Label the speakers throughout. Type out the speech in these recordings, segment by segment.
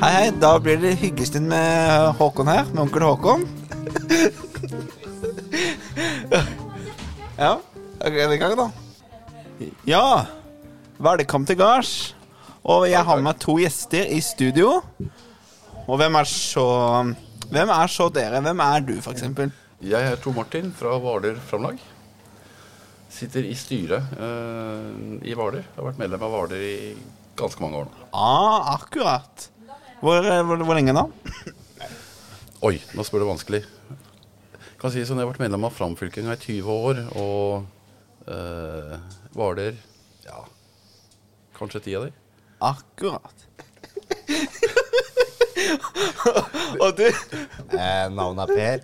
Speaker 1: Hei, hei. Da blir det hyggestund med Håkon her. Med onkel Håkon. ja, ok, det kan jeg da. Ja, velkommen til gards. Og jeg har med to gjester i studio. Og hvem er så Hvem er så dere? Hvem er du, for eksempel?
Speaker 2: Jeg er Tor Martin fra Hvaler Framlag. Sitter i styret eh, i Hvaler. Har vært medlem av Hvaler i ganske mange år nå.
Speaker 1: Ah, akkurat. Hvor, hvor, hvor lenge da?
Speaker 2: Oi, nå spør du vanskelig. Kan si det sånn, Jeg har vært medlem av Framfylkinga i 20 år, og eh, Hvaler ja, kanskje ti av de.
Speaker 1: Akkurat. og du
Speaker 3: Eh, navnet er Per.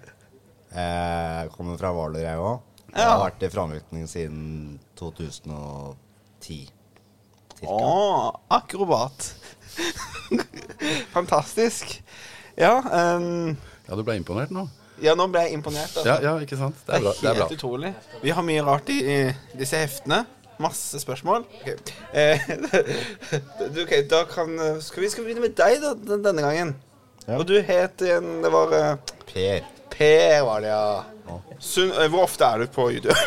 Speaker 3: Eh, jeg kommer fra Hvaler, jeg òg. Jeg har
Speaker 1: Ja.
Speaker 3: vært i framryktning siden 2010.
Speaker 1: Å, akrobat. Fantastisk. Ja, em,
Speaker 2: Ja, du ble imponert nå?
Speaker 1: ja, nå ble jeg imponert. Altså.
Speaker 2: Ja, ja ikke sant? Det er bra. Det er
Speaker 1: helt
Speaker 2: bra.
Speaker 1: utrolig. Vi har mye rart i, i disse heftene. Masse spørsmål. Ok. Eh, du, ok, da kan, skal vi skal vi begynne med deg da, den- denne gangen.
Speaker 3: Ja.
Speaker 1: Og du het igjen Det var eh,
Speaker 3: Per.
Speaker 1: Per, var det, ja.
Speaker 3: Ja.
Speaker 1: Sunn, eh, hvor ofte er du på YouTube?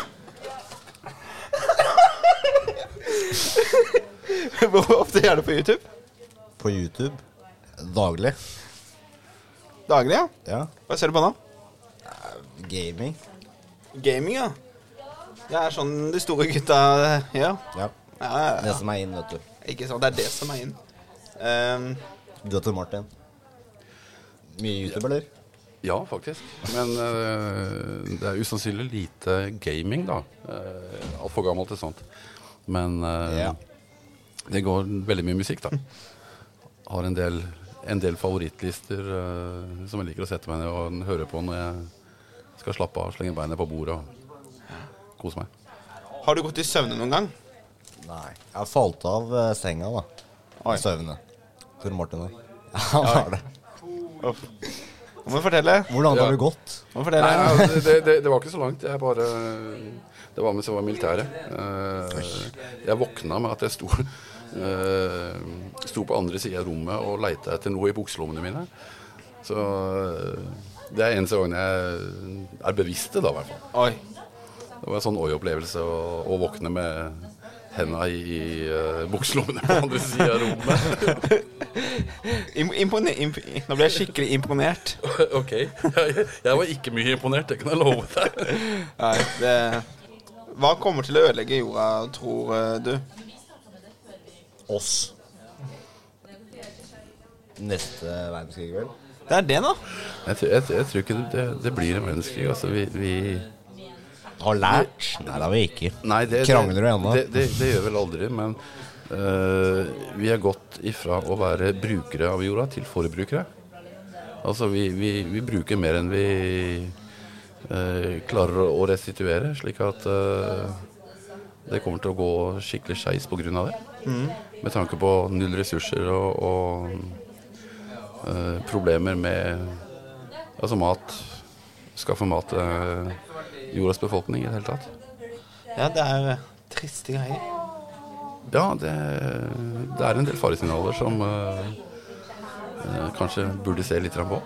Speaker 1: hvor ofte er du på YouTube?
Speaker 3: På YouTube. Daglig.
Speaker 1: Daglig, ja.
Speaker 3: Ja.
Speaker 1: Hva ser du på nå?
Speaker 3: Gaming.
Speaker 1: Gaming, ja. Det er sånn de store gutta eh, gjør.
Speaker 3: Ja.
Speaker 1: Ja, ja, ja.
Speaker 3: Det som er inn, vet du.
Speaker 1: Ikke sant, det er det som er inn. Ehm,
Speaker 3: Du til Martin. Mye YouTube, eller?
Speaker 2: Ja, faktisk. Men eh, det er usannsynlig lite gaming, da. Uh, Altfor gammelt til sånt. Men eh,
Speaker 3: Ja.
Speaker 2: det går veldig mye musikk, da. Har en del, en del favorittlister eh, som jeg liker å sette meg ned og høre på når jeg skal slappe av, slenge beina på bordet og kose meg.
Speaker 1: har du gått i søvne noen gang?
Speaker 3: Nei. Jeg har falt av eh, senga, da.
Speaker 1: Oi.
Speaker 3: I søvne. Tor Martin òg. Ja, han har det.
Speaker 1: Uff. Nå må du fortelle.
Speaker 3: Hvor langt
Speaker 2: Ja.
Speaker 3: har du gått?
Speaker 1: Nå må du
Speaker 2: Nei,
Speaker 1: fortelle.
Speaker 2: nei, det, det, det, det var ikke så langt. Jeg bare Det var mens jeg var i militæret. Eh, Jeg våkna med at jeg sto eh, Sto på andre sida av rommet og leita etter noe i bukselommene mine. Så eh, det er eneste gangen jeg er bevisst det, da, i hvert fall.
Speaker 1: Oi.
Speaker 2: Det var en sånn oi-opplevelse å, å våkne med henda i, i eh, bukselommene på andre sida av rommet.
Speaker 1: Im- Impone imp Nå ble jeg skikkelig imponert.
Speaker 2: OK. Jeg, jeg var ikke mye imponert, det kan jeg love deg.
Speaker 1: Nei, det Hva kommer til å ødelegge jorda, tror eh, du?
Speaker 3: Oss. Neste verdenskrig, vel?
Speaker 1: Det er det, da.
Speaker 2: Jeg, tror- jeg, jeg tror ikke det, det, det blir en menneskekrig. Altså, vi, vi
Speaker 3: Har lært? Nei, det har vi ikke.
Speaker 2: Nei, det,
Speaker 3: Krangler du
Speaker 2: det,
Speaker 3: ennå?
Speaker 2: Det, det, det gjør vel aldri, men eh, vi er gått ifra å være brukere av jorda til forbrukere. Altså, vi, vi, vi bruker mer enn vi eh, klarer å restituere, slik at eh, det kommer til å gå skikkelig skeis pga. det.
Speaker 3: Mm.
Speaker 2: Med tanke på null ressurser og, og eh, problemer med altså mat. Skaffe mat til eh, jordas befolkning i det hele tatt.
Speaker 1: Ja, det er eh, triste greier.
Speaker 2: Ja, det, det er en del faresignaler som eh, eh, kanskje burde se litt grann på.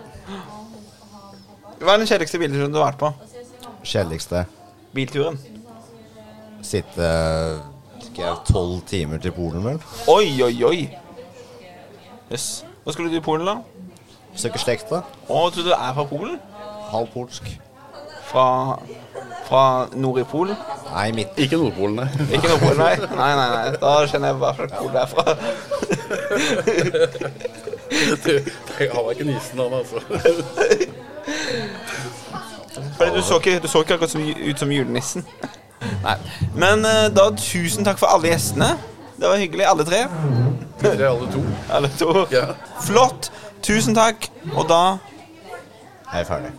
Speaker 1: Hva er den kjedeligste bilturen du har vært på?
Speaker 3: Kjedeligste.
Speaker 1: Bilturen.
Speaker 3: Sitte tolv timer til Polen, vel?
Speaker 1: Oi, oi, oi. Jøss. Hva skulle du i Polen, da?
Speaker 3: Søker slekt, da.
Speaker 1: Å, tror du du er fra Polen?
Speaker 3: Halv polsk.
Speaker 1: Fra, fra nord i Polen?
Speaker 3: Nei, midt
Speaker 2: Ikke Nordpolen, nei.
Speaker 1: Ikke noe Polen, nei. Nei, nei, nei. Da skjønner jeg hva slags Polen det er fra.
Speaker 2: Han var ikke nissen, han altså.
Speaker 1: Fordi du så ikke, du så ikke akkurat som, ut som julenissen. Nei. Men eh, da tusen takk for alle gjestene. Det var hyggelig, alle tre.
Speaker 2: Dere er alle to.
Speaker 1: Alle to.
Speaker 2: Ja.
Speaker 1: Flott. Tusen takk. Og da
Speaker 3: Jeg er ferdig.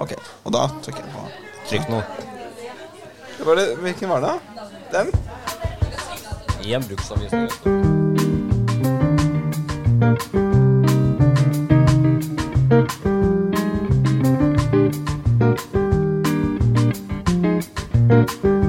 Speaker 1: OK. Og da trykker jeg på.
Speaker 3: Trykk nå.
Speaker 1: Det var det, hvilken var det? da? Den?
Speaker 3: Gi en bruksanvisning.
Speaker 1: det.